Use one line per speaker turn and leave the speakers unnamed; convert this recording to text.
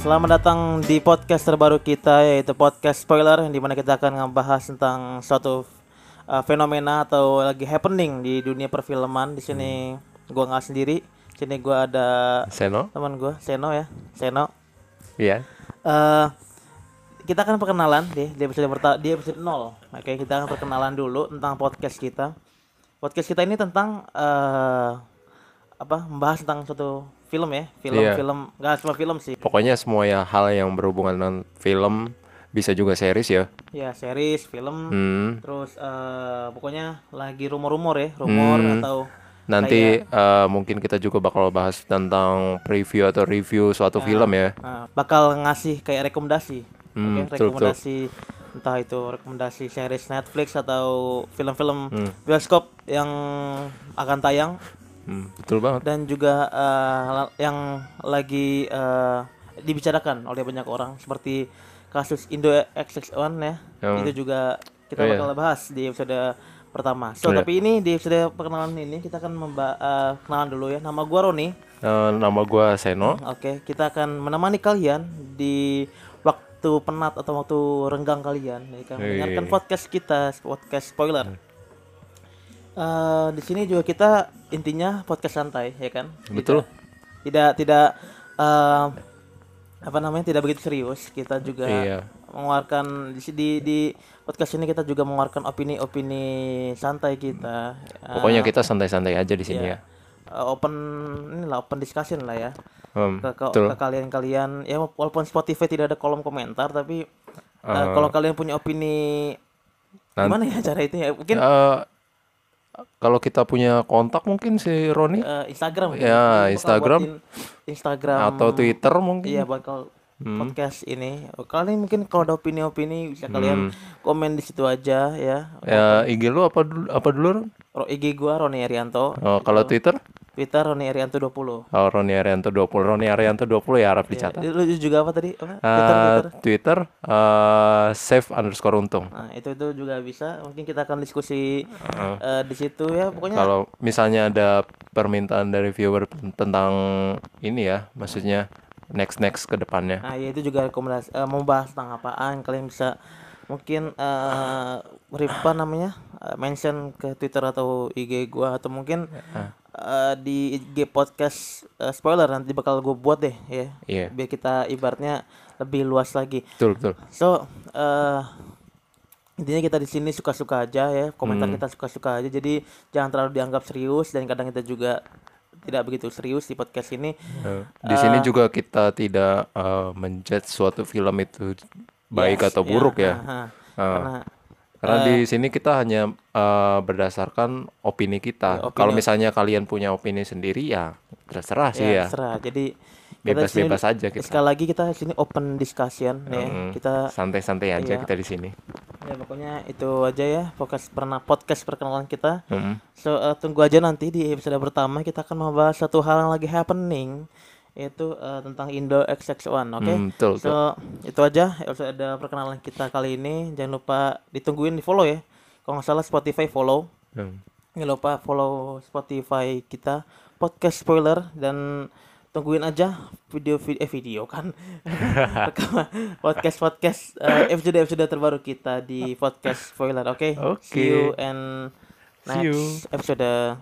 Selamat datang di podcast terbaru kita yaitu podcast spoiler di mana kita akan ngebahas tentang suatu uh, fenomena atau lagi happening di dunia perfilman. Di
Hmm.
sini gua nggak sendiri, sini gua ada
Seno?
teman gua Seno ya, Seno.
Iya.
Eh kita akan perkenalan di di episode perta- di episode 0. Oke, kita akan perkenalan dulu tentang podcast kita. Podcast kita ini tentang eh apa? membahas tentang suatu film ya,
Iya.
film-film nggak cuma film sih.
Pokoknya semua ya hal yang berhubungan dengan film bisa juga series ya.
Ya, series, film,
Hmm.
terus eh pokoknya lagi rumor-rumor ya, rumor
Hmm.
atau
Nanti eh, mungkin kita juga bakal bahas tentang preview atau review suatu film ya.
eh, bakal ngasih kayak rekomendasi. Oke,
Hmm, betul, betul.
rekomendasi entah itu rekomendasi series Netflix atau film-film bioskop yang akan tayang
Hmm, betul banget.
dan juga eh, la- yang lagi eh, dibicarakan oleh banyak orang seperti kasus Indo XX1 ya.
Hmm.
Itu juga kita
Oh, iya.
bakal bahas di episode pertama. So,
Iya.
tapi ini di episode perkenalan ini kita akan memba- eh, kenalan dulu ya. Nama gua Roni.
Eh, nama gua Seno.
Oke, kita akan menemani kalian di waktu penat atau waktu renggang kalian. Ya, kan?
Hei. Hmm.
Mendengarkan podcast kita, podcast spoiler. Eh, di sini juga kita intinya podcast santai, ya kan? Tidak-
Betul.
Tidak tidak eh, apa namanya tidak begitu serius. Kita juga
Iya.
mengeluarkan di, di di podcast ini kita juga mengeluarkan opini-opini santai kita. Eh,
Pokoknya kita santai-santai aja di sini ya.
eh, open inilah open discussion lah ya
Hmm,
ke ke-
betul.
ke kalian-kalian ya walaupun Spotify tidak ada kolom komentar tapi eh, kalau kalian punya opini
Nan-
gimana ya cara itu ya mungkin
Eh, kalau kita punya kontak mungkin si Roni
eh, Instagram
Ya,
Bakal
Instagram.
buatin Instagram
atau Hmm. Twitter mungkin.
iya bakal podcast ini kalian mungkin kalau ada opini-opini bisa
Hmm.
kalian komen di situ aja ya
Ya, IG lu apa dulu apa dulu? Ron?
Ro- IG gua Roni Arianto
Oh, kalau Twitter
Twitter Roni Arianto 20
Oh, Roni Arianto 20. Roni Arianto 20 ya harap dicatat.
lu juga apa tadi apa?
Eh,
Twitter Twitter
Twitter, eh, save underscore untung.
Nah, itu itu juga bisa. Mungkin kita akan diskusi eh, di situ ya. Pokoknya
Kalau misalnya ada permintaan dari viewer pen- tentang ini ya, maksudnya next next ke depannya.
nah, ya itu juga rekomendasi eh, mau bahas tentang apaan kalian bisa mungkin eh apa namanya? eh, mention ke Twitter atau IG gua atau mungkin
Ya, ah.
eh, di IG podcast eh, spoiler nanti bakal gue buat deh ya.
Iya.
Biar kita ibaratnya lebih luas lagi.
Betul betul.
So, eh intinya kita di sini suka-suka aja ya. Komentar
Hmm.
kita suka-suka aja. Jadi jangan terlalu dianggap serius dan kadang kita juga tidak begitu serius di podcast ini.
Eh, Di sini juga kita tidak eh, menjudge suatu film itu baik atau buruk ya.
Aha.
Eh,
Karena
Karena di sini kita hanya eh, berdasarkan opini
Ya,
kita. Kalau misalnya kalian punya opini sendiri ya terserah sih
ya,
ya.
terserah. Jadi kita di sini-
Bebas-bebas aja kita.
Sekali lagi kita di sini open discussion ya. Kita
Santai-santai aja
Iya.
kita di sini.
ya pokoknya itu aja ya podcast pernah podcast perkenalan kita.
Mm-mm.
So eh, tunggu aja nanti di episode pertama kita akan membahas satu hal yang lagi happening yaitu eh, tentang Indo XX1, oke?
Hmm, betul,
so itu aja episode ada perkenalan kita kali ini. Jangan lupa ditungguin di follow ya. Kalau nggak salah Spotify follow.
Hmm.
Jangan lupa follow Spotify kita podcast spoiler dan tungguin aja video video, eh, video kan podcast podcast episode episode terbaru kita di podcast spoiler oke
Oke.
see you and
See you.
next episode